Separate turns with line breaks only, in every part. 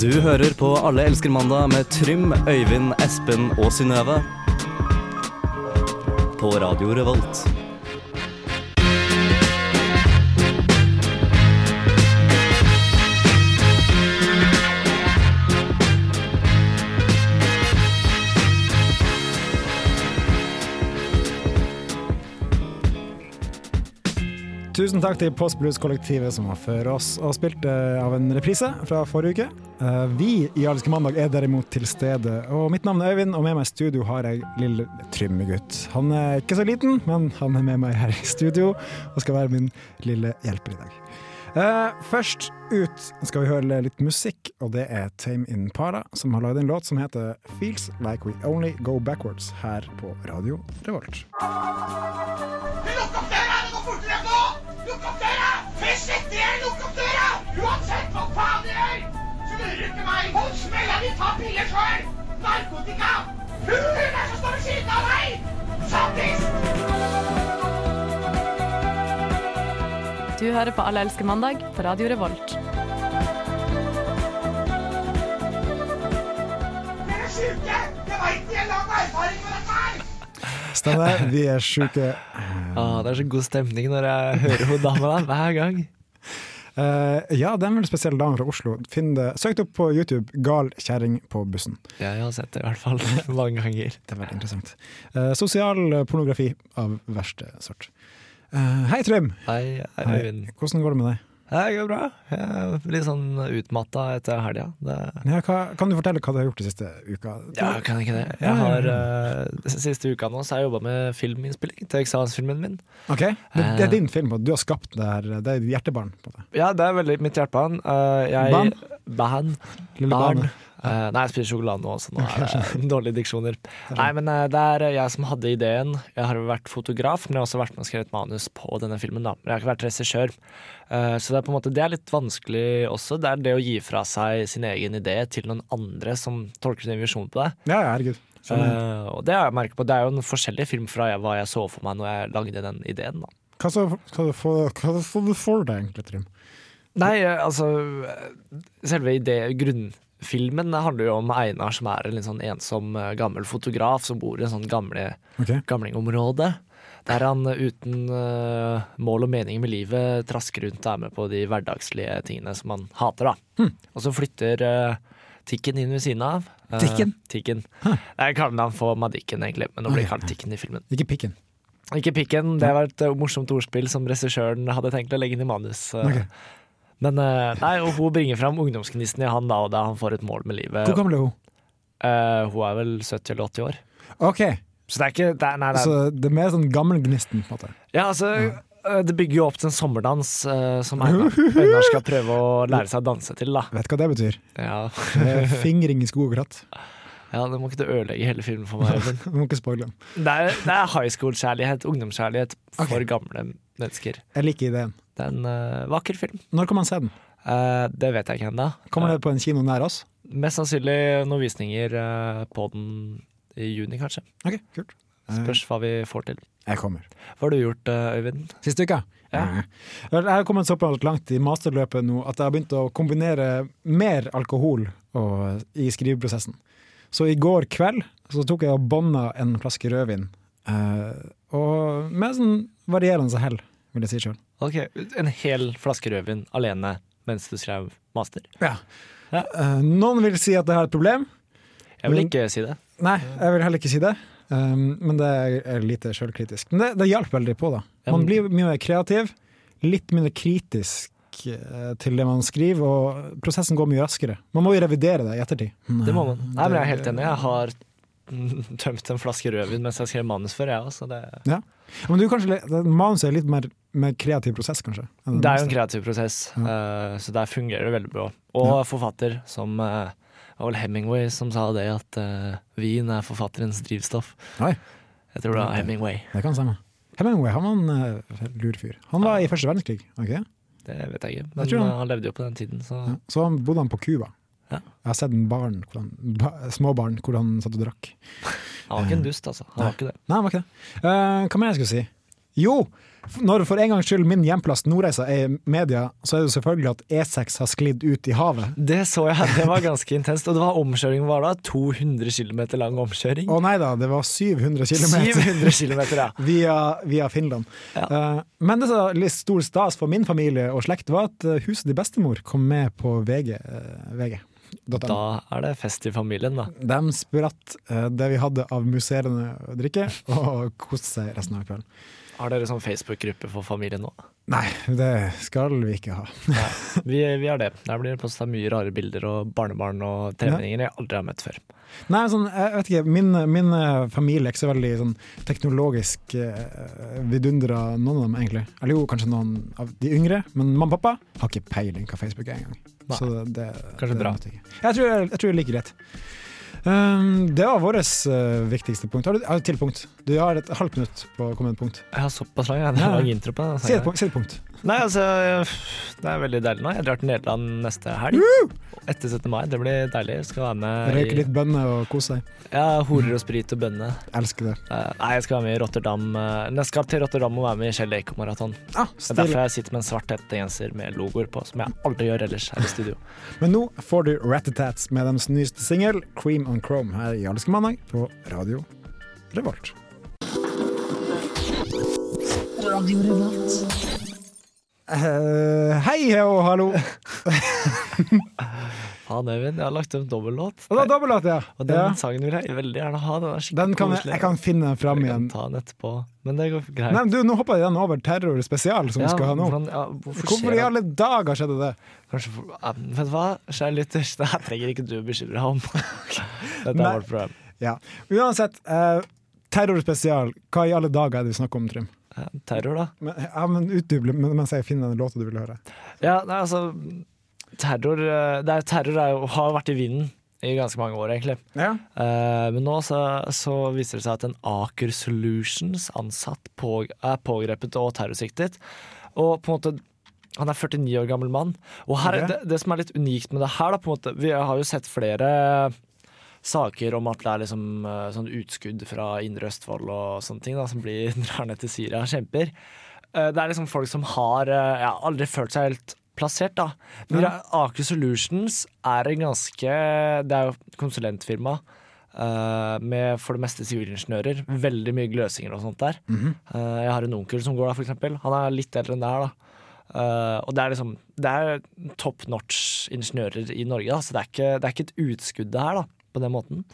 Du hører på Alle elsker mandag med Trym, Øyvind, Espen og Synnøve. På Radio Revolt.
Tusen takk til Post Blues-kollektivet som var før oss og spilte eh, av en reprise fra forrige uke. Eh, Vi i Alske mandag er derimot til stede, og mitt navn er Øyvind, og med meg i studio har jeg lille Trymmegutt. Han er ikke så liten, men han er med meg her i studio og skal være min lille hjelper i dag. Eh, først ut skal vi høre litt musikk, og det er Tame In Para som har lagd en låt som heter Feels Like We Only Go Backwards her på Radio Revolt.
Lukk opp døra! Det går fortere nå! Lukk opp døra! Først etter dere, lukk opp døra! Uansett hva faen dere gjør, så lurer du ikke meg. Hold smella di, ta piller sjøl! Narkotika! Hulen der som står ved siden av deg! Sattis!
Du hører på Alle elsker mandag på Radio Revolt.
Dere er sjuke! Jeg veit de har lang erfaring med dette her!
Stemmer, vi er sjuke.
Ah, det er så god stemning når jeg hører hun dama der hver gang.
Eh, ja, det er en veldig spesiell dame fra Oslo. Finn det. Søk det opp på YouTube. 'Gal kjerring på bussen'.
Ja, jeg har sett det i hvert fall mange ganger.
Det er veldig interessant. Eh, sosial pornografi av verste sort. Eh, hei, Trym. Eh,
Hei, hei, Øyvind.
Hvordan går det med deg?
Ja, Det går bra. Jeg er litt sånn utmatta etter helga. Det-
Ja, hva, kan du fortelle hva du har gjort de siste uka?
Ja, kan jeg ikke det. Jeg har, eh, de siste uka nå så har jeg jobba med filminnspilling til eksamensfilmen min.
Ok, det, det
Eh.
er din film, og du har skapt det her. Det er ditt hjertebarn. på det.
Ja, det er veldig mitt hjertebarn. Eh, jeg,
Barn?
Barn.
Lille
Barn.
barnet.
Eh, nei, jeg spiser sjokolade nå, så nå er det dårlige diksjoner. Nei, men eh, det er jeg som hadde ideen. Jeg har vært fotograf, men jeg har også vært med og skrevet manus på denne filmen. da. Men jeg har ikke vært regissør. Eh, så det er på en måte, det er litt vanskelig også. Det er det å gi fra seg sin egen idé til noen andre som tolker sin visjon på det.
Ja, ja, herregud. Skjønner.
Eh, og det har jeg merket på. Det er jo en forskjellig film fra jeg, hva jeg så for meg når jeg lagde den ideen. da.
Hva så hva får hva så du for deg, egentlig, Trym?
Nei, eh, altså eh, Selve ide- grunnfilmen handler jo om Einar, som er en litt sånn ensom eh, gammel fotograf som bor i en sånn gamle,
Ok.
gamlingområde. Der han eh, uten eh, mål og mening med livet trasker rundt og er med på de hverdagslige tingene som han hater. da.
Hm.
Og så flytter eh, Tikken inn ved siden av. Eh,
Tikken? Hm.
tikken. Jeg kaller han for Madikken, egentlig, men nå blir det kalt Tikken i filmen.
Ikke pikken.
Ikke pikken, det var et eh, morsomt ordspill som regissøren hadde tenkt å legge inn i manus. eh.
Ok.
Men eh, nei, og hun bringer fram ungdomsgnisten i han da, og da han får et mål med livet.
Hvor gammel er hun?
Eh, hun er vel 70 eller 80 år.
Ok,
Så det er ikke det er, Nei, det er,
så det er mer sånn gammelgnisten, på en måte.
ja, altså, eh, det bygger jo opp til en sommerdans eh, som Einar, Einar skal prøve å lære seg å danse til, da.
Vet du hva det betyr?
Ja,
Det er Fingring i skog og kratt.
ja det må ikke du ødelegge hele filmen for meg. Øyvind.
Du må ikke spoile den.
Det er, det er high school-kjærlighet, ungdomskjærlighet, for
Ok.
gamle mennesker.
Jeg liker ideen.
Det er en eh, vakker film.
Når kan man se den?
Eh, det vet jeg ikke ennå.
Kommer det på en kino nær oss?
Mest sannsynlig noen visninger eh, på den i juni, kanskje.
Ok, kult. Eh,
Spørs hva vi får til.
Jeg kommer.
Hva har du gjort, eh, Øyvind?
Siste uka?
Ja.
Vel, Jeg har kommet såpass langt i masterløpet nå at jeg har begynt å kombinere mer alkohol og, i skriveprosessen. Så i går kveld så tok jeg og bånda en flaske rødvin. eh, og med sånn varierende hell, vil jeg si sjøl.
Ok, En hel flaske rødvin alene mens du skrev master?
Ja. Eh, noen vil si at det er et problem.
Jeg vil
Men-
ikke si det.
Nei, jeg vil heller ikke si det. Um, men det er lite sjølkritisk. Men det, det hjalp veldig på, da. Man
Ja,
blir mye mer kreativ, litt mindre kritisk eh, til det man skriver, og prosessen går mye raskere. Man må jo revidere det i ettertid.
Det må man. Nei, men Jeg er helt enig. Jeg har mm, tømt en flaske rødvin mens jeg skrev manus før, jeg òg. Så det,
Ja. Men du, kanskje, litt- det- manuset er litt mer, mer kreativ prosess, kanskje. enn
det er jo
meste.
en kreativ prosess, eh, så der fungerer det veldig bra. Og forfatter, som eh, det var vel Hemingway som sa det, at eh, vin er forfatterens drivstoff.
Oi,
Jeg tror det var Hemingway.
det kan stemme. Hemingway han var en uh, lur fyr. Han var i første verdenskrig, ok?
Det Mm. vet jeg ikke, men
tror han-
eh, han levde jo på den tiden, så
Ja. Så han bodde han på Cuba.
Ja.
Jeg har sett en barn, hvor han- ba, små barn hvor han satt og drakk.
han var ikke en dust, altså. Han var ikke det.
Nei, det var ikke det. Eh, hva mer jeg skulle si? Jo, f- når for en gangs skyld min hjemplass Nordreisa er i media, så er det jo selvfølgelig at E6 har sklidd ut i havet.
Det så jeg, det var ganske intenst. Og det var omkjøring var da 200 km lang omkjøring.
Å nei da, det var 700 km.
700 km, ja.
Via, via Finland. Eh, men det som var litt stor stas for min familie og slekt, var at eh, huset til bestemor kom med på VG. eh, VG.
Da er det fest i familien, da.
De spratt eh, det vi hadde av musserende drikke, og koste seg resten av kvelden.
Har dere sånn Facebook-gruppe for familien nå?
Nei, det skal vi ikke ha.
Vi, vi har det. Der blir det posta mye rare bilder og barnebarn og tremenninger jeg aldri har møtt før.
Nei, men sånn, jeg vet ikke, min, min eh, familie er ikke så veldig sånn, teknologisk eh, vidundra, noen av dem egentlig. Eller jo, kanskje noen av de yngre, men mamma og pappa har ikke peiling hva Facebook er engang.
Nei.
Så det, det
Kanskje bra.
vet Jeg, ikke. jeg, tror, jeg tror det er like greit. Um, det var vårt eh, viktigste punkt. Har du har du et til punkt? Du har et halvt minutt på å komme med et pungt.
Jeg har såpass lang, jeg. Det
Ja.
er lang intro på den.
Si et punkt. Si et punkt.
Nei, altså, det er veldig deilig nå. Jeg drar til Nederland neste helg. Etter 17. mai. Det blir deilig. Skal være med
Røyke
i
litt bønner og kose seg.
ja, horer og sprit og bønne.
Elsker det.
Eh, Nei, jeg skal være med i Rotterdam. eh, Jeg skal til Rotterdam og være med i Kjell Eiko-maraton.
Ah,
Det er derfor jeg sitter med en svart hettegenser med logoer på, som jeg aldri gjør ellers her i studio.
Men nå får du Ratatats med deres nyeste singel, 'Cream on Chrome', her i Jarlske mandag på Radio Revolt. Eh, hei og hallo!
Faen, Øyvind, jeg har lagt opp dobbellåt.
Og da dobbeltlåt, ja.
Og den
ja.
sangen vil jeg veldig gjerne ha. Den er skikkelig
Den kan jeg,
koselig.
jeg kan finne den fram
Jeg kan
igjen.
ta den etterpå. Men det går greit.
Nei, men du, nå hopper jeg den over Terror spesial, som vi skal ha nå.
hvordan- ja, hvorfor
Hvorfor
skjer
i
det?
alle dager skjedde det?
Kanskje, for- ja, men vet du hva, kjære lytter, det her trenger ikke du å bekymre deg om. Dette
Nei.
er vårt program.
Ja. Uansett, eh, Terror spesial, hva i alle dager er det vi snakker om, Trym?
Ja, Terror, da.
Men, ja, men utdyp mens jeg finner den låta du vil høre.
Ja, nei, altså Terror, eh, det er, terror er jo, har vært i vinden i ganske mange år, egentlig.
Ja.
Eh, men nå så, så viser det seg at en Aker Solutions ansatt på, er pågrepet og terrorsiktet. Og på en måte han er 49 år gammel mann. Og her,
Ok.
det, det som er litt unikt med det her, da, på en måte, vi har jo sett flere saker om at det er liksom, eh, sånn utskudd fra Indre Østfold og sånne ting da, som blir drar ned til Syria og kjemper. Eh, Det er liksom folk som har eh, ja, aldri følt seg helt plassert, da. Men
Ja.
Aker Solutions er en ganske Det er jo et konsulentfirma. eh, med for det meste sivilingeniører. Veldig mye gløsinger og sånt der.
Mhm.
Eh, jeg har en onkel som går der, for eksempel. Han er litt eldre enn det her, da. Eh, og det er liksom Det er top notch ingeniører i Norge, da, så det er ikke, det er ikke et utskudd det her, da, på den måten.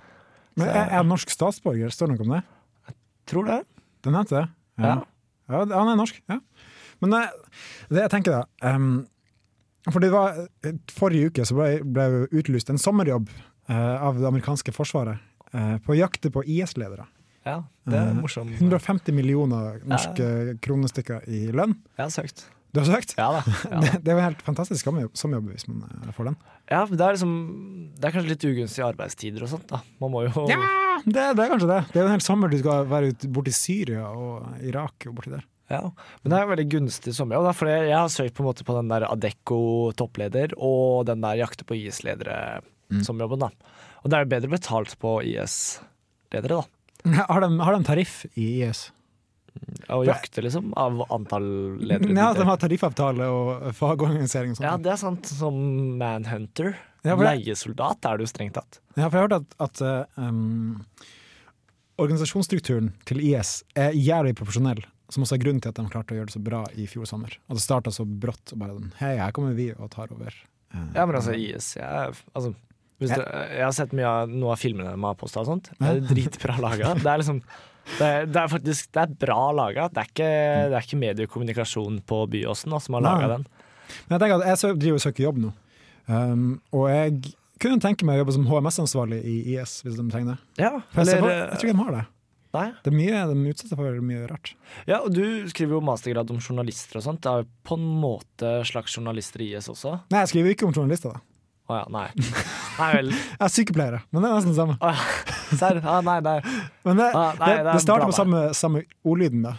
Men er er han norsk statsborger? Står det noe om det?
Tror det.
Det nevnte det. Ja. ja. det- Han er norsk, ja. Men eh, det jeg tenker da ehm, For det var eh, forrige uke så ble, ble jo utlyst en sommerjobb eh, av det amerikanske forsvaret eh, på å jakte på IS-ledere.
Ja, det er
Eh,
morsomt.
150 millioner norske kronestykker i lønn.
Jeg har søkt.
Du har søkt?
Ja da. Ja, da.
Det, det er jo en helt fantastisk sommerjobb, sommerjobb hvis man eh, får den.
Ja, men det er liksom Det er kanskje litt ugunstige arbeidstider og sånt, da. Man må jo Ja,
Det, det er kanskje det. Det er jo en hel sommer du skal være ute borti Syria og Irak og borti der.
Men det er jo veldig gunstig sommerjobb, da, for jeg jeg har søkt på en måte på den der Adecco toppleder og den der jakte på
Mm.
IS-ledere-sommerjobben, da. Og det er jo bedre betalt på IS-ledere, da.
Har de, har de tariff i IS?
Å jakte, liksom, av antall ledere.
Ja, at de har tariffavtale og fagorganisering og
Ja,
sånt.
det er sant. Som Manhunter.
Ja, for det-
Leiesoldat er du strengt tatt.
Ja, for jeg har hørt at, at eh, um, organisasjonsstrukturen til IS er jævlig proporsjonell, som også er grunnen til at de klarte å gjøre det så bra i fjor sommer. At det starta så brått og bare den Hei, her kommer vi og tar over. Eh,
Ja, men altså, IS jeg, er- altså, hvis
Ja.
du, jeg har sett mye av noe av filmene de har posta og sånt. Det er dritbra laga. Det er liksom det er, det er faktisk det er bra laga. Det, er ikke- det er ikke mediekommunikasjon på Byåsen da, som har
Nei.
laga den.
Men jeg tenker at jeg sø- driver og søker jobb nå, um, og jeg kunne tenke meg å jobbe som HMS-ansvarlig i IS, hvis de trenger det.
Ja,
For jeg, ser på,
eller,
jeg tror ikke de har det.
nei.
Det er mye, de utsetter for mye rart.
ja, og du skriver jo mastergrad om journalister og sånt. Det er jo på en måte slags journalister i IS også.
Nei, jeg skriver ikke om journalister, da.
Å ja, nei. Nei vel.
Jeg er sykepleiere, men det er nesten det samme.
Å ja. Serr? Ja, nei, nei.
Men det,
Ah, nei,
det,
det er
det starter
bra
med samme, samme ordlyden, da.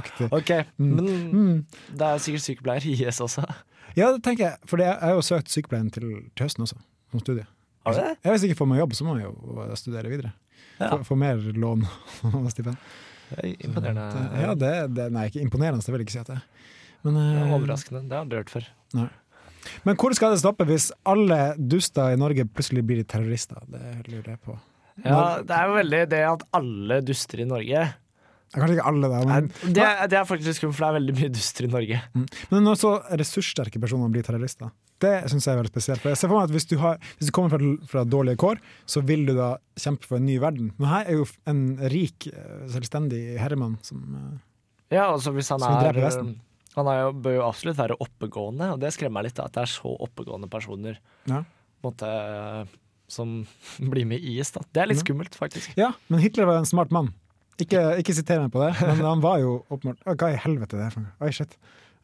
Aktig.
OK, men det er sikkert sykepleier i IS også.
Mm. Ja, det tenker jeg, for det- jeg har jo søkt sykepleien til, til høsten også, som studie.
Har du det?
Ja, hvis jeg ikke får meg jobb, så må jeg jo studere videre.
Ja.
Få- Få mer lån og stipend.
Det er imponerende.
Ja, det, det, nei, ikke imponerende, det vil jeg ikke si at det er. Men,
Det er
eh,
Overraskende. Det har jeg aldri hørt før.
men hvor skal det stoppe hvis alle duster i Norge plutselig blir terrorister? Det lurer jeg på.
Ja, det er jo veldig det at alle duster i Norge.
Ja, Kanskje ikke alle, da, men,
Det, det er faktisk litt skummelt, for det er veldig mye duster i Norge.
Mm. men når så ressurssterke personer blir terrorister, det syns jeg er veldig spesielt. For jeg ser for meg at Hvis du, har, hvis du kommer fra, fra dårlige kår, så vil du da kjempe for en ny verden. Men her er jo en rik, eh, selvstendig herremann som eh,
Ja, altså hvis han
Som
er
dreper Vesten.
Han er jo, bør jo absolutt være oppegående, og det skremmer meg litt. da, At det er så oppegående personer
Ja.
på en måte, eh, som blir med i IS. da. Det er litt skummelt, faktisk.
Ja, men Hitler var jo en smart mann. Ikke, ikke siter meg på det, men han var jo åpenbart Å, Hva i helvete er det for noe? Oi, shit.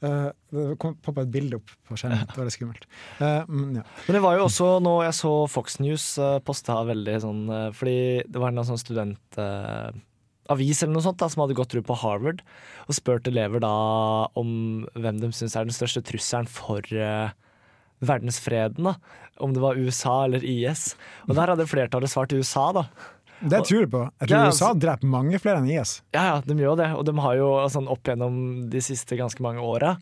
Eh, det kom poppa et bilde opp på skjermen. Det var litt skummelt. Eh, men ja.
Men det var jo også nå jeg så Fox News eh, posta veldig sånn eh, Fordi det var en eller annen sånn studentavis avis eller noe sånt da, som hadde gått rundt på Harvard og spurt elever da om hvem de syns er den største trusselen for eh, verdensfreden. da. Om det var USA eller IS. Og der hadde flertallet svart USA, da.
Det tror jeg på. Jeg tror
Ja,
USA dreper mange flere enn IS.
Ja, ja, de gjør jo det. Og de har jo sånn opp gjennom de siste ganske mange åra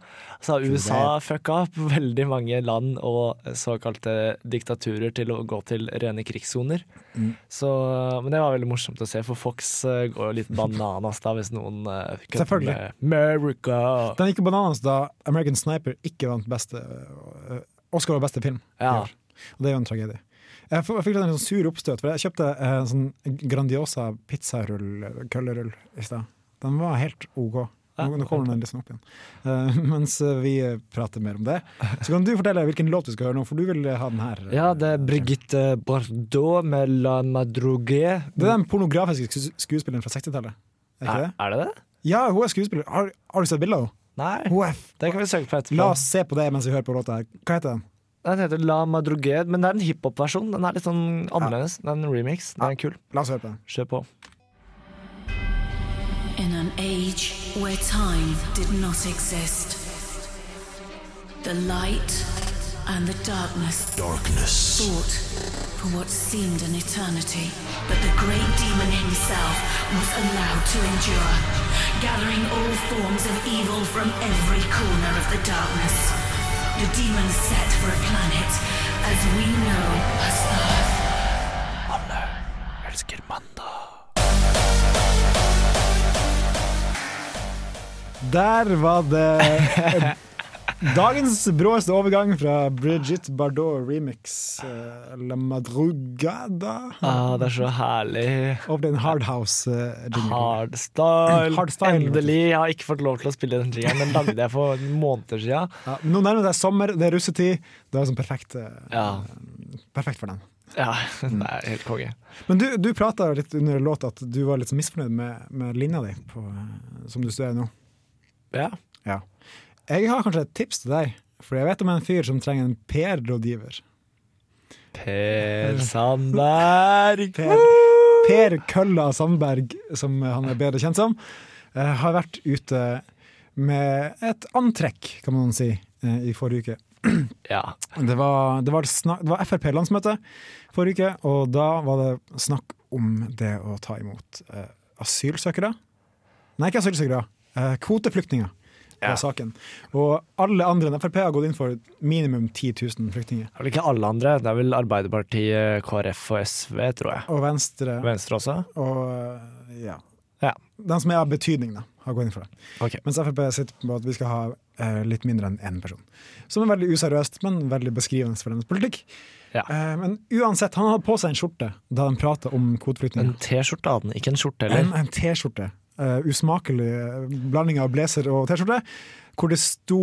så har USA fucka opp veldig mange land og såkalte diktaturer til å gå til rene krigssoner.
Mm.
Så, men det var veldig morsomt å se, for Fox eh, går jo litt bananas da hvis noen eh, kødder
Selvfølgelig.
med America.
Den gikk jo bananas da American Sniper ikke vant beste, eh, Oscar var beste film. i
Ja.
år. Og det er jo en tragedie. Jeg f- jeg fikk litt en sånn sur oppstøt, for jeg kjøpte en sånn Grandiosa pizzarull, eh, køllerull, i stad. Den var helt OK. Nå, nå kommer den liksom opp igjen. Eh, mens vi eh, prater mer om det, så kan du fortelle hvilken låt vi skal høre nå, for du vil ha den her.
ja, det er Brigitte Bardot med La Madrogue.
Det er den pornografiske sku- skuespilleren fra 60-tallet. Er ikke
Er,
det?
er det det?
Ja, hun er skuespiller. Har, har du sett bildet av henne?
Nei.
Hun er f-
Det kan vi søke på etterpå.
La oss se på det mens vi hører på låta her. Hva heter den?
Den heter La Madrogue, men det er en hiphop-versjon. Den er litt sånn annerledes. Det er en remix. Den er kul.
La oss høre på den.
Kjør på.
In an age where time did not exist, the light and the darkness, fought for what seemed an eternity. But the great demon himself was allowed to endure, gathering all forms of evil from every corner of the darkness. The demon set for a planet as we know as Earth.
Elsker mandag.
Der var det dagens bråeste overgang fra Brigitte Bardot remix eh, La Madrugada.
Ah, det er så herlig.
Over til en eh, hardhouse-jingle.
Hardstyle.
Hardstyle.
Endelig. Jeg har ikke fått lov til å spille den jingeren. Den lagde jeg for måneder siden.
Ja, men nå nærmer det seg sommer, det er russetid. Det er sånn perfekt, eh,
Ja,
perfekt for den.
ja det er helt konge.
Men du, du prata litt under låta at du var litt sånn misfornøyd med, med linja di på, eh, som du studerer nå.
Ja.
Ja. Jeg har kanskje et tips til deg, for jeg vet om en fyr som trenger en PR-rådgiver.
Per Sandberg.
Per, per Kølla Sandberg, som han er bedre kjent som, eh, har vært ute med et antrekk, kan man si, eh, i forrige uke.
Ja.
Det var, det var, snak- det var Frp-landsmøte forrige uke, og da var det snakk om det å ta imot eh, asylsøkere. Nei, ikke asylsøkere. Eh, kvoteflyktninger var
Ja.
saken. Og alle andre enn Frp har gått inn for minimum 10 000 flyktninger.
Det er vel ikke alle andre. Det er vel Arbeiderpartiet, KrF og SV, tror jeg.
Og Venstre
Venstre også?
og eh, ja.
Ja.
Den som er av betydning, da, har gått inn for det.
Ok.
Mens Frp sitter på at vi skal ha eh, litt mindre enn én person. Som er veldig useriøst, men veldig beskrivende for deres politikk.
Ja.
Eh, men uansett, han hadde på seg en skjorte da de prata om kvoteflyktninger.
En T-skjorte hadde den, ikke en skjorte
En,
heller.
en T-skjorte. Eh, usmakelig eh, blanding av blazer og T-skjorte, hvor det sto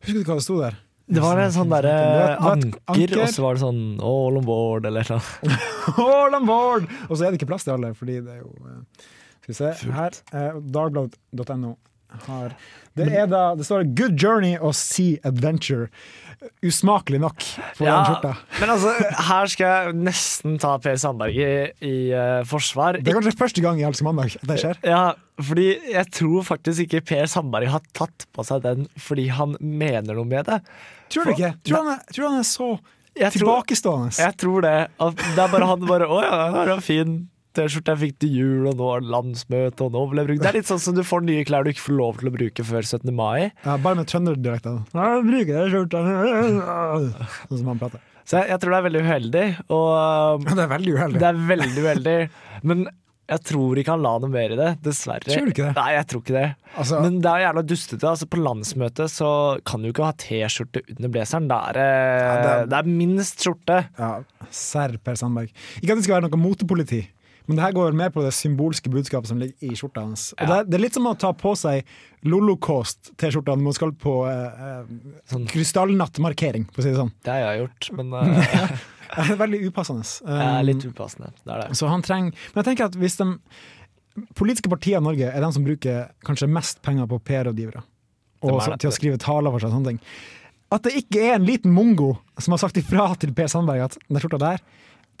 Husker du hva det sto der?
Det var en sånn derre
Det var et- det
anker,
var et anker.
og så var det sånn all on board, eller noe.
All on board! Og så er det ikke plass til alle, fordi det er jo eh, Skal vi se her. eh, Dagbladet.no har Det er da Det står 'Good journey og sea adventure'. Usmakelig nok for den skjorta.
men altså, her skal jeg nesten ta Per Sandberg i, i eh, forsvar.
Det er kanskje første gang i Alsk mandag at det skjer.
Ja, fordi jeg tror faktisk ikke Per Sandberg har tatt på seg den fordi han mener noe med det.
Tror du ikke? Tror du han er, tror du han er så
Jeg tror-
tilbakestående?
Jeg tror det. at Det er bare han bare Å ja, det var en fin T-skjorte jeg fikk til jul, og nå er det landsmøte, og nå vil jeg bruke Det er litt sånn som du får nye klær du ikke får lov til å bruke før 17. mai.
Ja, bare med trønderdialekta. Jeg bruker den skjorta Sånn som han prater.
Så jeg, jeg tror det er veldig uheldig, og
Det er veldig uheldig.
det er veldig uheldig. Men jeg tror ikke han la noe mer i det, dessverre.
Tror du ikke det?
Nei, jeg tror ikke det.
Altså-
Men det er jævla dustete. Altså, på landsmøtet så kan du ikke ha T-skjorte under blazeren. Det er, eh,
Ja, det er-
det er minst skjorte.
Ja, Serr Per Sandberg. Ikke at det skal være noe motepoliti, men det her går mer på det symbolske budskapet som ligger i skjorta hans. Og det,
Ja.
er, det er litt som å ta på seg Lolocost-T-skjorta når man skal på eh, eh,
Sånn.
krystallnattmarkering, for å si det sånn.
Det har jeg gjort, men eh,
Det er Veldig upassende.
det er
Um,
litt upassende. Det er det.
Så han trenger Men jeg tenker at hvis de politiske partiene i Norge er de som bruker kanskje mest penger på PR-rådgivere, og
De er
så,
det.
til å skrive taler for seg og sånne ting, at det ikke er en liten mongo som har sagt ifra til Per Sandberg at den skjorta der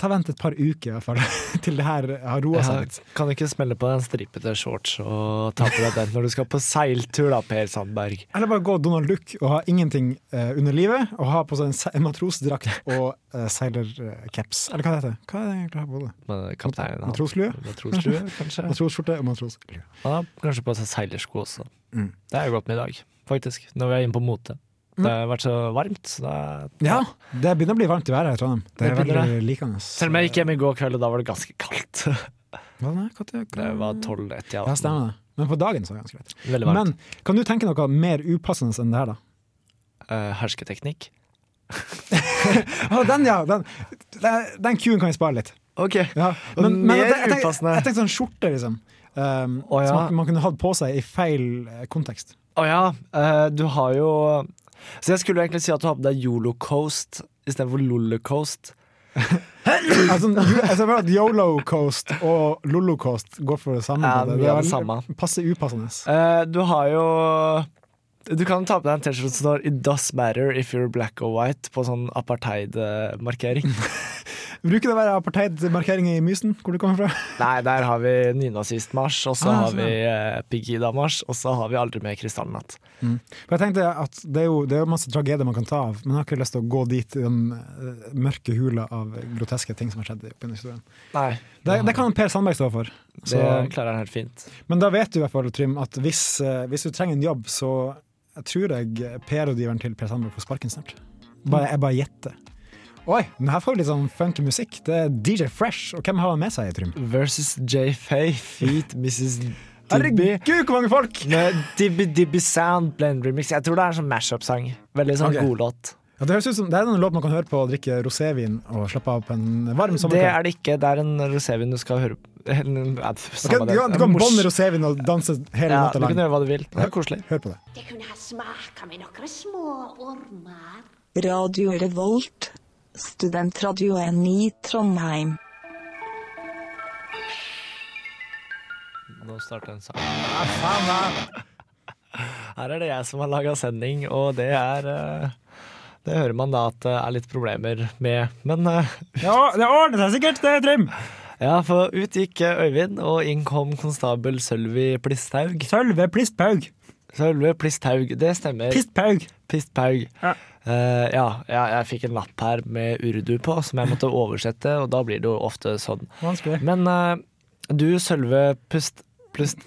Ta vent et par uker i hvert fall til det her har roa seg litt.
Ja, kan du ikke smelle på den stripete shorts og ta på deg den når du skal på seiltur, da, Per Sandberg?
Eller bare gå Donald Duck og ha ingenting eh, under livet, og ha på seg en, se- en matrosdrakt og eh, seilercaps. Eller hva heter det? Hva er det egentlig jeg har på hodet?
Men Kapteinen han-
Matroslue?
Matroslue, kanskje?
Matrosskjorte og matroslue.
Han har kanskje på seg seilersko også.
Mm.
Det er jo godt med i dag, faktisk. Når vi er inne på mote. Det har vært så varmt, så det er
Ja, det begynner å bli varmt i været her i Trondheim. Det er
Det begynner
veldig likende.
Selv om jeg gikk hjem i går kveld, og da var det ganske kaldt.
Hva da? Hva til-
Det var tolv etter
Ja, stemmer det. Men på dagen så er det ganske greit.
Veldig varmt.
Men kan du tenke noe mer upassende enn det her, da?
Eh, hersketeknikk.
Å, Ah, den, ja! Den, den- den cuen kan vi spare litt.
Ok.
Ja.
Og mer
jeg tenk- jeg, tenk,
upassende.
jeg tenkte sånn skjorte, liksom. Um,
Å,
Som
ja.
man, man kunne hatt på seg i feil eh, kontekst.
Å ja, eh, du har jo Så jeg skulle jo egentlig si at du har på deg Yolocoast istedenfor Lollecoast.
Altså, jeg ser bare at Yolo Coast og Lollo Coast går for det samme.
Ja,
på
mye av det
veldig-
samme.
Passe upassende.
Eh, du har jo Du kan ta på deg en T-skjorte som står 'It does matter if you're black or white' på sånn apartheid-markering.
Bruker det å være apartheidmarkeringer i Mysen, hvor du kommer fra?
Nei, der har vi nynazistmarsj, og så
Ah,
har
sånn,
vi eh, Pegida-marsj, og så har vi aldri mer krystallnatt.
For jeg tenkte at Det er jo det er jo masse tragedier man kan ta av, men jeg har ikke lyst til å gå dit i den eh, mørke hula av groteske ting som har skjedd. opp gjennom historien.
Nei,
Det, det kan Per Sandberg stå for.
det
Så,
klarer han helt fint.
men da vet du i hvert fall, Trym, at hvis, eh, hvis du trenger en jobb, så jeg tror jeg PR-rådgiveren til Per Sandberg får sparken snart. Bare, jeg bare gjetter. Oi, men her får vi litt sånn funky musikk. Det er DJ Fresh, og hvem har han med seg, Trym?
Versus J. Fay, feat Mrs. Dibby.
Herregud, hvor mange folk!
Med Dibby Dibby Sound Blend Remix. Jeg tror det er en sånn mashup-sang. Veldig sånn
Ok.
godlåt.
Ja, det høres ut som det er en låt man kan høre på og drikke rosévin og slappe av på en varm
Det
sommerkveld.
er det ikke. Det er en rosévin du skal høre på. En- ja,
Ok,
samme
du
det.
kan, du kan
Mors-
bånde rosévin og danse hele
Ja,
natta
du kan
lang.
gjøre hva du vil. Det er koselig.
Hør på det.
Det kunne ha smaka med noen små ormer.
Radio Revolt. Studentradioen i Trondheim.
Nå starter en sang. Her er det jeg som har laga sending, og det er eh, Det hører man da at det er litt problemer med. Men eh,
Ja, det ordner seg sikkert, det, Trym.
ja, for ut gikk eh, Øyvind, og inn kom konstabel Sølvi Plisthaug.
Sølve Plistpaug.
Sølve Plisthaug, det stemmer.
Plistpaug.
Pistpaug.
Ja.
Ja. ja, jeg, jeg fikk en lapp her med urdu på, som jeg måtte oversette, og da blir det jo ofte sånn.
Vanskelig.
Men eh, du, Sølve Pust... Plust...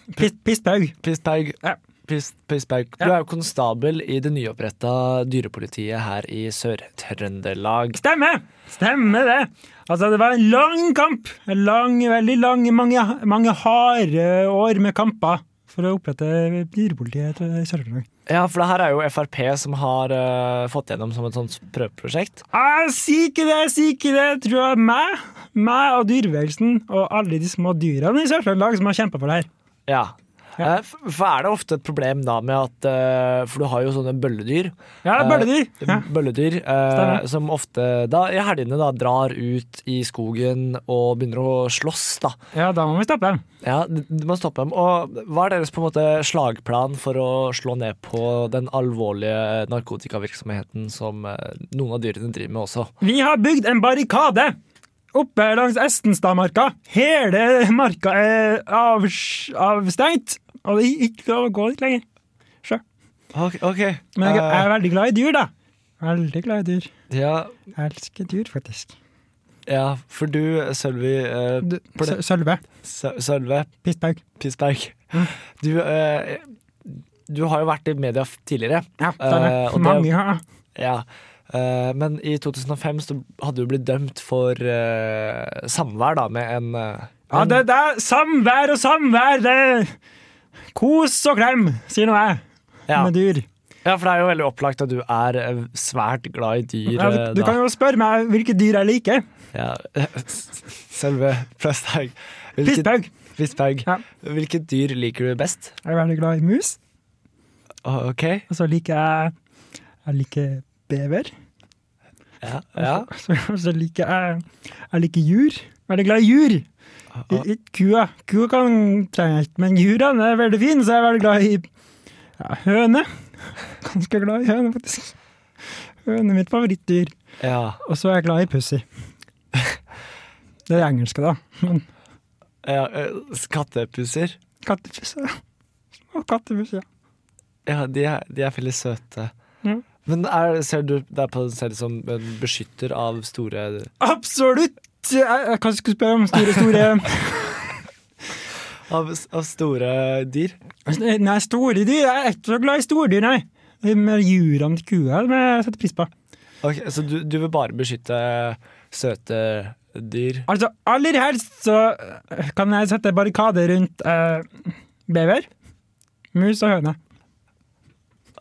Pistpaug.
Pistpaug.
Ja.
Pist, Pistpaug. Du er jo konstabel i det nyoppretta dyrepolitiet her i Sør-Trøndelag.
Stemme! Stemme det. Altså, det var en lang kamp. En lang, veldig lang, mange, mange harde år med kamper for å opprette dyrepolitiet i Sør-Trøndelag.
Ja, for det her er jo Frp som har eh, fått gjennom som et sånt prøveprosjekt.
Ah, Si ikke det, si ikke det, tror jeg. Meg, meg og dyrebevegelsen og alle de små dyrene i Sør-Trøndelag som har kjempa for det her.
Ja. Eh, f- For er det ofte et problem da med at eh, For du har jo sånne bølledyr.
Ja, det er bølledyr.
Eh,
Ja.
Bølledyr eh,
Stemmer.
som ofte da, i helgene da, drar ut i skogen og begynner å slåss. da.
Ja, da må vi stoppe dem.
Ja, d- Du må stoppe dem. Og Hva er deres på en måte slagplan for å slå ned på den alvorlige narkotikavirksomheten som eh, noen av dyrene driver med også?
Vi har bygd en barrikade oppe langs Estenstadmarka. Hele marka er av, avstengt, og det er ikke lov å gå dit lenger.
Ok, Eh,
Men jeg, jeg er veldig glad i dyr, da. Veldig glad i dyr.
ja,
Jeg elsker dyr, faktisk.
Ja, for du, Sølvi eh,
Du,
For
Sø-
det-
Sølve
Sø- Sølve
Pistberg.
Pissberg, du, eh, du har jo vært i media f- tidligere.
Ja, det er det.
Eh, og det-
Mange, ja.
Ja. Eh, men i 2005 så hadde du blitt dømt for eh, samvær da, med en eh,
ja det, det er samvær og samvær! Det er Kos og klem, sier nå jeg,
ja.
med dyr.
ja, for det er jo veldig opplagt at du er eh, svært glad i dyr.
Ja, du,
eh,
du
da.
kan jo spørre meg hvilke dyr jeg liker.
Ja. Selve Pløsthaug.
Pistberg.
Pissberg.
Ja.
Hvilket dyr liker du best?
Jeg er veldig glad i mus.
Å, OK.
Og så liker jeg Jeg liker bever.
Ja. ja.
Så, så liker jeg Jeg liker jur. Veldig glad i jur. I- i Kua Kua kan trenge helt, men jurene er veldig fine, så jeg er veldig glad i ja, høne. Ganske glad i høne, faktisk. Høne er mitt favorittdyr.
ja.
Og så er jeg glad i pussy. Det er det engelske, da. Men
ja. eh, Kattepusser.
kattepussy ja. Små kattepussy, ja.
Ja, de er, de er veldig søte.
Ja.
Men er, ser du deg på deg selv som en beskytter av store
Absolutt! Jeg, jeg kanskje skulle spørre om store, store
Av, av store dyr?
Altså, Nei, store dyr. Jeg er ikke så glad i store dyr, nei. De Med jurene til kua som jeg setter pris på.
Ok, så du, du vil bare beskytte søte dyr?
Altså, aller helst så øh, kan jeg sette barrikade rundt øh, bever, mus og høne.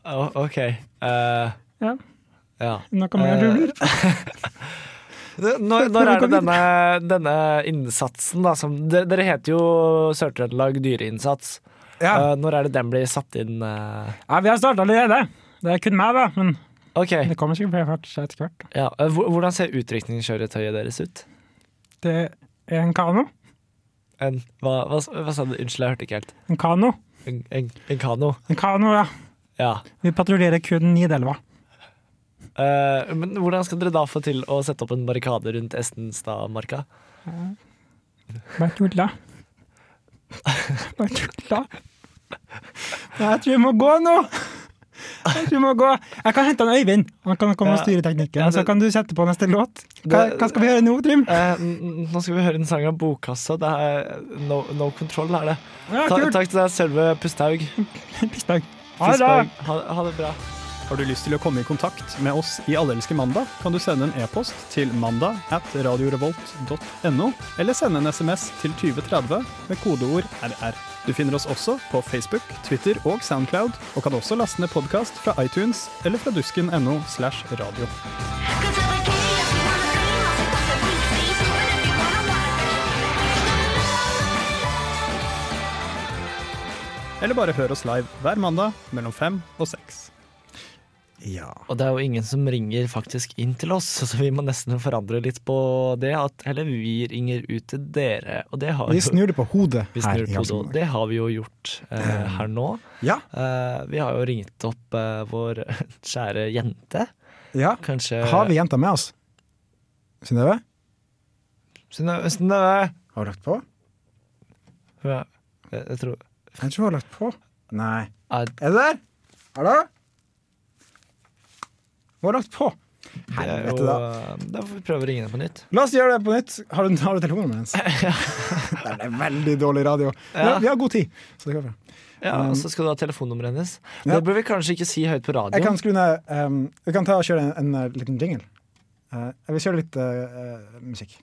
Å, OK. eh,
Ja.
ja.
Noe mer du
Eh,
lurer på?
Når, når er det denne, denne innsatsen, da, som Dere, dere heter jo Sør-Trøndelag Dyreinnsats. Eh, når er det den blir satt inn? eh?
Ja, vi har starta allerede. Det er kun meg, da. Men
OK.
det kommer sikkert flere fart etter hvert.
Ja. eh, hvor- Hvordan ser utrykningskjøretøyet deres ut?
Det er en kano.
En, hva, hva, hva sa du? Unnskyld, jeg hørte ikke helt.
En kano.
En, en, en kano?
En kano, ja.
Ja.
Vi patruljerer kun Nidelva.
Eh, men hvordan skal dere da få til å sette opp en barrikade rundt Estenstadmarka?
Bare tulla. Bare tulla. Nei, jeg tror vi må gå nå. Jeg tror vi må gå. Jeg kan hente han Øyvind. Han kan komme og
Ja.
styre teknikken.
Ja, det-
Så kan du sette på neste låt. Hva,
Det-
hva skal vi gjøre nå, Trym?
Eh, n- nå skal vi høre en sang av Bokkassa. Det er eh, No, no Control, er det.
Ja,
Ta,
kult.
takk til deg, Sølve Pusthaug.
Pissberg. Ha det bra.
Fisberg. Ha, ha det bra.
Har du lyst til å komme i kontakt med oss i Allelske mandag, kan du sende en e-post til mandag at radiorevolt.no, eller sende en SMS til 2030 med kodeord RR. Du finner oss også på Facebook, Twitter og Soundcloud, og kan også laste ned podkast fra iTunes eller fra dusken.no slash radio. Eller bare hør oss live hver mandag mellom fem og seks.
Ja.
Og det er jo ingen som ringer faktisk inn til oss, så vi må nesten forandre litt på det. At heller vi ringer ut til dere, og det har
Vi
jo-
snur det på hodet
vi
her.
snur
i
på det, og
Allsang.
det har vi jo gjort eh, her nå.
Ja.
Eh, vi har jo ringt opp eh, vår kjære jente.
ja.
Kanskje
Har vi jenta med oss? Synnøve?
Synnøve- Synnøve!
Har hun lagt på?
Hun er- Jeg, jeg tror
Jeg tror hun har lagt på. Nei.
Nei,
Er du der? Hallo? Hun har lagt på.
det er
Helvete,
jo,
da.
eh, Da får vi prøve å ringe henne på nytt.
La oss gjøre det på nytt. Har du, har du telefonnummeret hennes? det er veldig dårlig radio.
Ja.
Men vi har god tid. Så det går bra.
Ja, Og så skal du ha telefonnummeret hennes.
Mm. Ja.
Det bør vi kanskje ikke si høyt på
Jeg kan
radioen.
skru ned um, Vi kan ta og kjøre en, en uh, liten jingle. Uh, jeg vil kjøre litt uh, uh, musikk.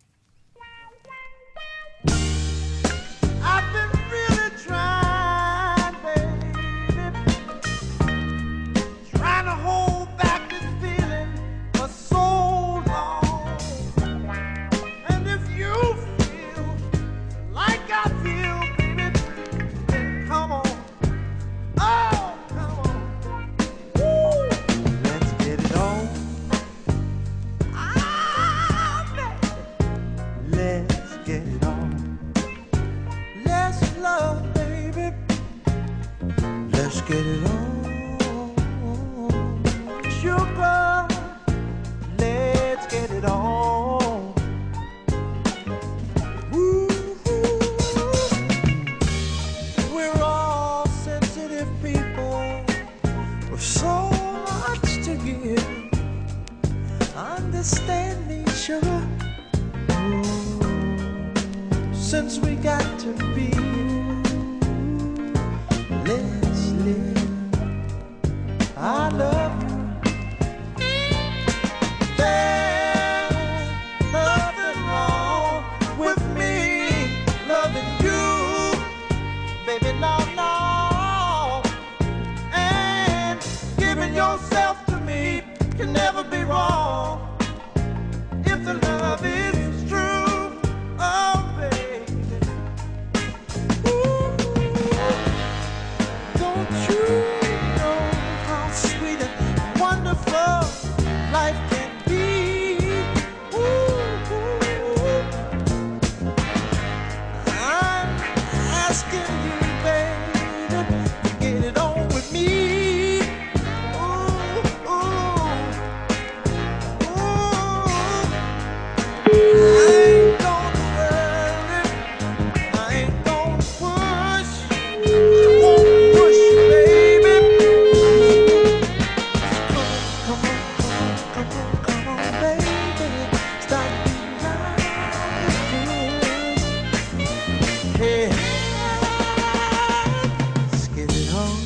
Oh, Ah, Let's get it on. Let's love, baby. Let's get it on. Sugar, let's get it on. Woo-hoo. We're all sensitive people with so much to give. Understand me, sugar. since we got to be here. Let's live. I love you. There's nothing wrong with me loving you, baby. No, no. And giving yourself to me can never be wrong if the love is true. Oh, baby. Don't you know how sweet and wonderful life can be? Ooh, I'm asking you, baby, to get it on with me. Ooh, ooh, ooh. I ain't gonna worry. I ain't gonna push. I won't push, baby. Come on, come on, come on, come on, baby. Stop being like this. Hey, let's get it on.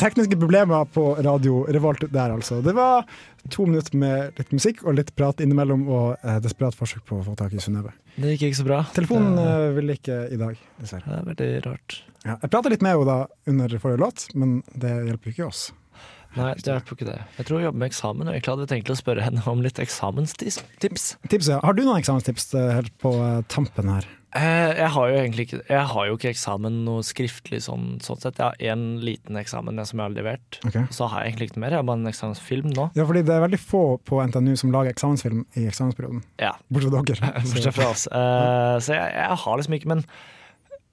Tekniske problemer på radio Revolt der, altså. Det var to minutter med litt musikk og litt prat innimellom, og eh, desperat forsøk på å få tak i Synnøve.
Det gikk ikke så bra.
Telefonen
det,
eh, ville ikke i dag, dessverre.
det er veldig rart.
Ja, jeg prata litt med henne da under forrige låt, men det hjelper jo ikke oss.
Nei, det hjelper ikke det. Jeg tror hun jobber med eksamen, og egentlig hadde jeg tenkt å spørre henne om litt eksamenstips.
Tips, ja. Har du noen eksamenstips eh, helt på eh, tampen her?
Eh, Jeg har jo egentlig ikke, jeg har jo ikke eksamen noe skriftlig sånn, sånn sett. Jeg har én liten eksamen jeg, som jeg har levert.
Ok.
Og Så har jeg egentlig ikke noe mer. Jeg har bare en eksamensfilm nå.
Ja, fordi det er veldig få på NTNU som lager eksamensfilm i eksamensperioden.
Ja.
Bortsett fra dere.
Bortsett fra oss. Eh, så jeg, jeg har liksom ikke, men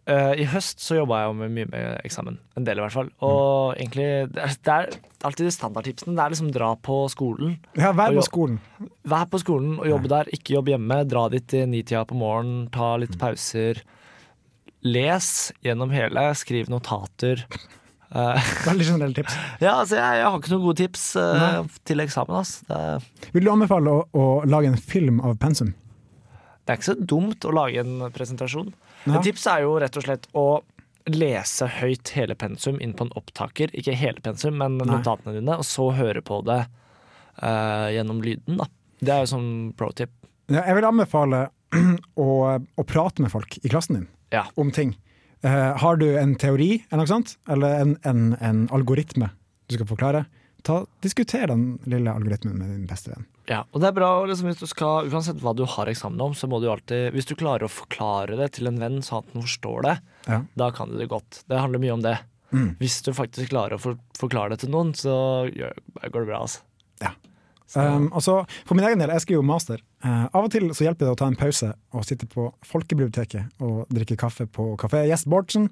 eh, i høst så jobba jeg jo med mye med eksamen. En del i hvert fall. Og egentlig, det er, det er alltid de standardtipsene. Det er liksom dra på skolen.
Ja, vær
Og jo-
på skolen.
Vær på skolen og jobbe der, ikke jobb hjemme. Dra dit til nitida på morgenen, ta litt pauser. Les gjennom hele, skriv notater. Eh,
Veldig generelle tips.
ja, altså jeg, jeg har ikke noen gode tips eh, til eksamen, ass. Det, er-
Vil du anbefale å, å lage en film av pensum?
det er ikke så dumt å lage en presentasjon.
Ja.
Et tips er jo rett og slett å lese høyt hele pensum inn på en opptaker. Ikke hele pensum, men notatene dine, og så høre på det eh, gjennom lyden, da. Det er jo sånn pro tip.
Ja, jeg vil anbefale å, å prate med folk i klassen din
Ja.
om ting. Eh, har du en teori eller noe sånt, eller en, en, en algoritme du skal forklare, ta, diskuter den lille algoritmen med din beste venn.
Ja, og det er bra og liksom, hvis du skal, Uansett hva du har eksamen om, så må du alltid Hvis du klarer å forklare det til en venn sånn at den forstår det,
Ja.
da kan du det godt. Det handler mye om det.
Mm.
Hvis du faktisk klarer å for, forklare det til noen, så gjør, går det bra, altså.
Um, og så, for min egen del, jeg skriver jo master. Eh, av og til så hjelper det å ta en pause og sitte på folkebiblioteket og drikke kaffe på kafé Gjest Bårdsen.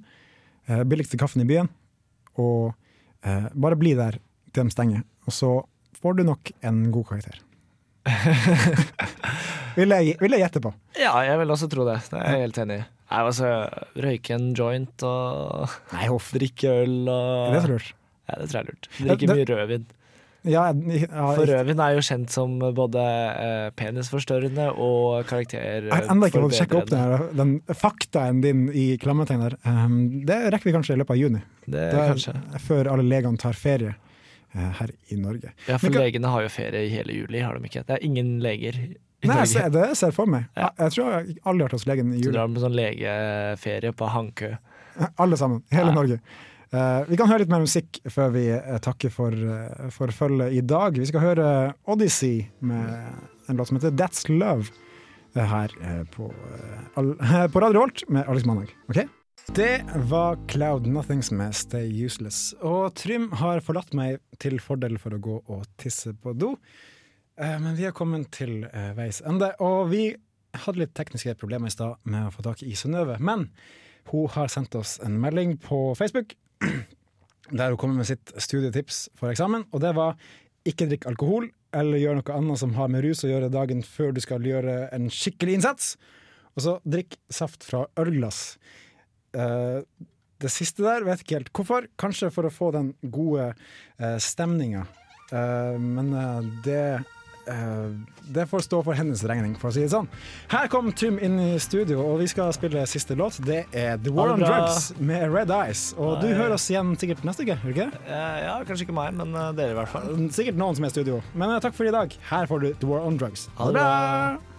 eh, billigste kaffen i byen. Og eh, bare bli der til de stenger, og så får du nok en god karakter. vil, jeg, vil jeg gjette på.
Ja, jeg vil også tro det. Det er jeg helt enig i. Nei, altså, Røyke en joint og
Nei, huff.
drikke øl og
Er det så lurt?
Ja, det tror jeg er lurt. Drikke
Det-
mye rødvin.
Ja, jeg, ja,
For
jeg,
rødvin er jo kjent som både eh, penisforstørrende og karakter...
jeg har ennå ikke fått sjekka opp den, her, den faktaen din i klammetegn der. Um, det rekker vi kanskje i løpet av juni.
Det,
Det er
kanskje.
Før alle legene tar ferie eh, her i Norge.
Ja, for
Men hva-
legene har jo ferie i hele juli, har de ikke? Det er ingen leger i
Nei, jeg
Norge.
ser, det ser jeg for meg.
Ja.
Jeg, jeg tror jeg aldri har vært hos legen i
Så
juli.
drar de på sånn legeferie på Hankø.
Alle sammen. Hele
Ja.
Norge. Eh, vi kan høre litt mer musikk før vi eh, takker for, eh, for følget i dag. Vi skal høre Odyssey med en låt som heter That's Love eh, her eh, på, eh, all, på Radio Volt med Alex Mandag. Ok? Det var Cloud Nothings med Stay Useless. Og Trym har forlatt meg til fordel for å gå og tisse på do. Eh, Men vi har kommet til eh, veis ende, og vi hadde litt tekniske problemer i stad med å få tak i Synnøve. Men hun har sendt oss en melding på Facebook der hun kommer med sitt studietips for eksamen, og det var ikke drikk alkohol eller gjør noe annet som har med rus å gjøre dagen før du skal gjøre en skikkelig innsats. Og så drikk saft fra ølglass. Eh, det siste der vet ikke helt hvorfor. Kanskje for å få den gode uh, stemninga Eh, men eh, det eh, det får stå for hennes regning, for å si det sånn. Her kom Trym inn i studio, og vi skal spille siste låt. Det er The War
Ha
on
det bra.
Drugs med Red Eyes. Og du
Nei.
hører oss igjen sikkert neste uke, gjør du ikke?
Eh, ja, kanskje ikke meg, men eh, dere i hvert fall.
Sikkert noen som er i studio. Men eh, takk for i dag. Her får du The War on Drugs.
Ha det bra.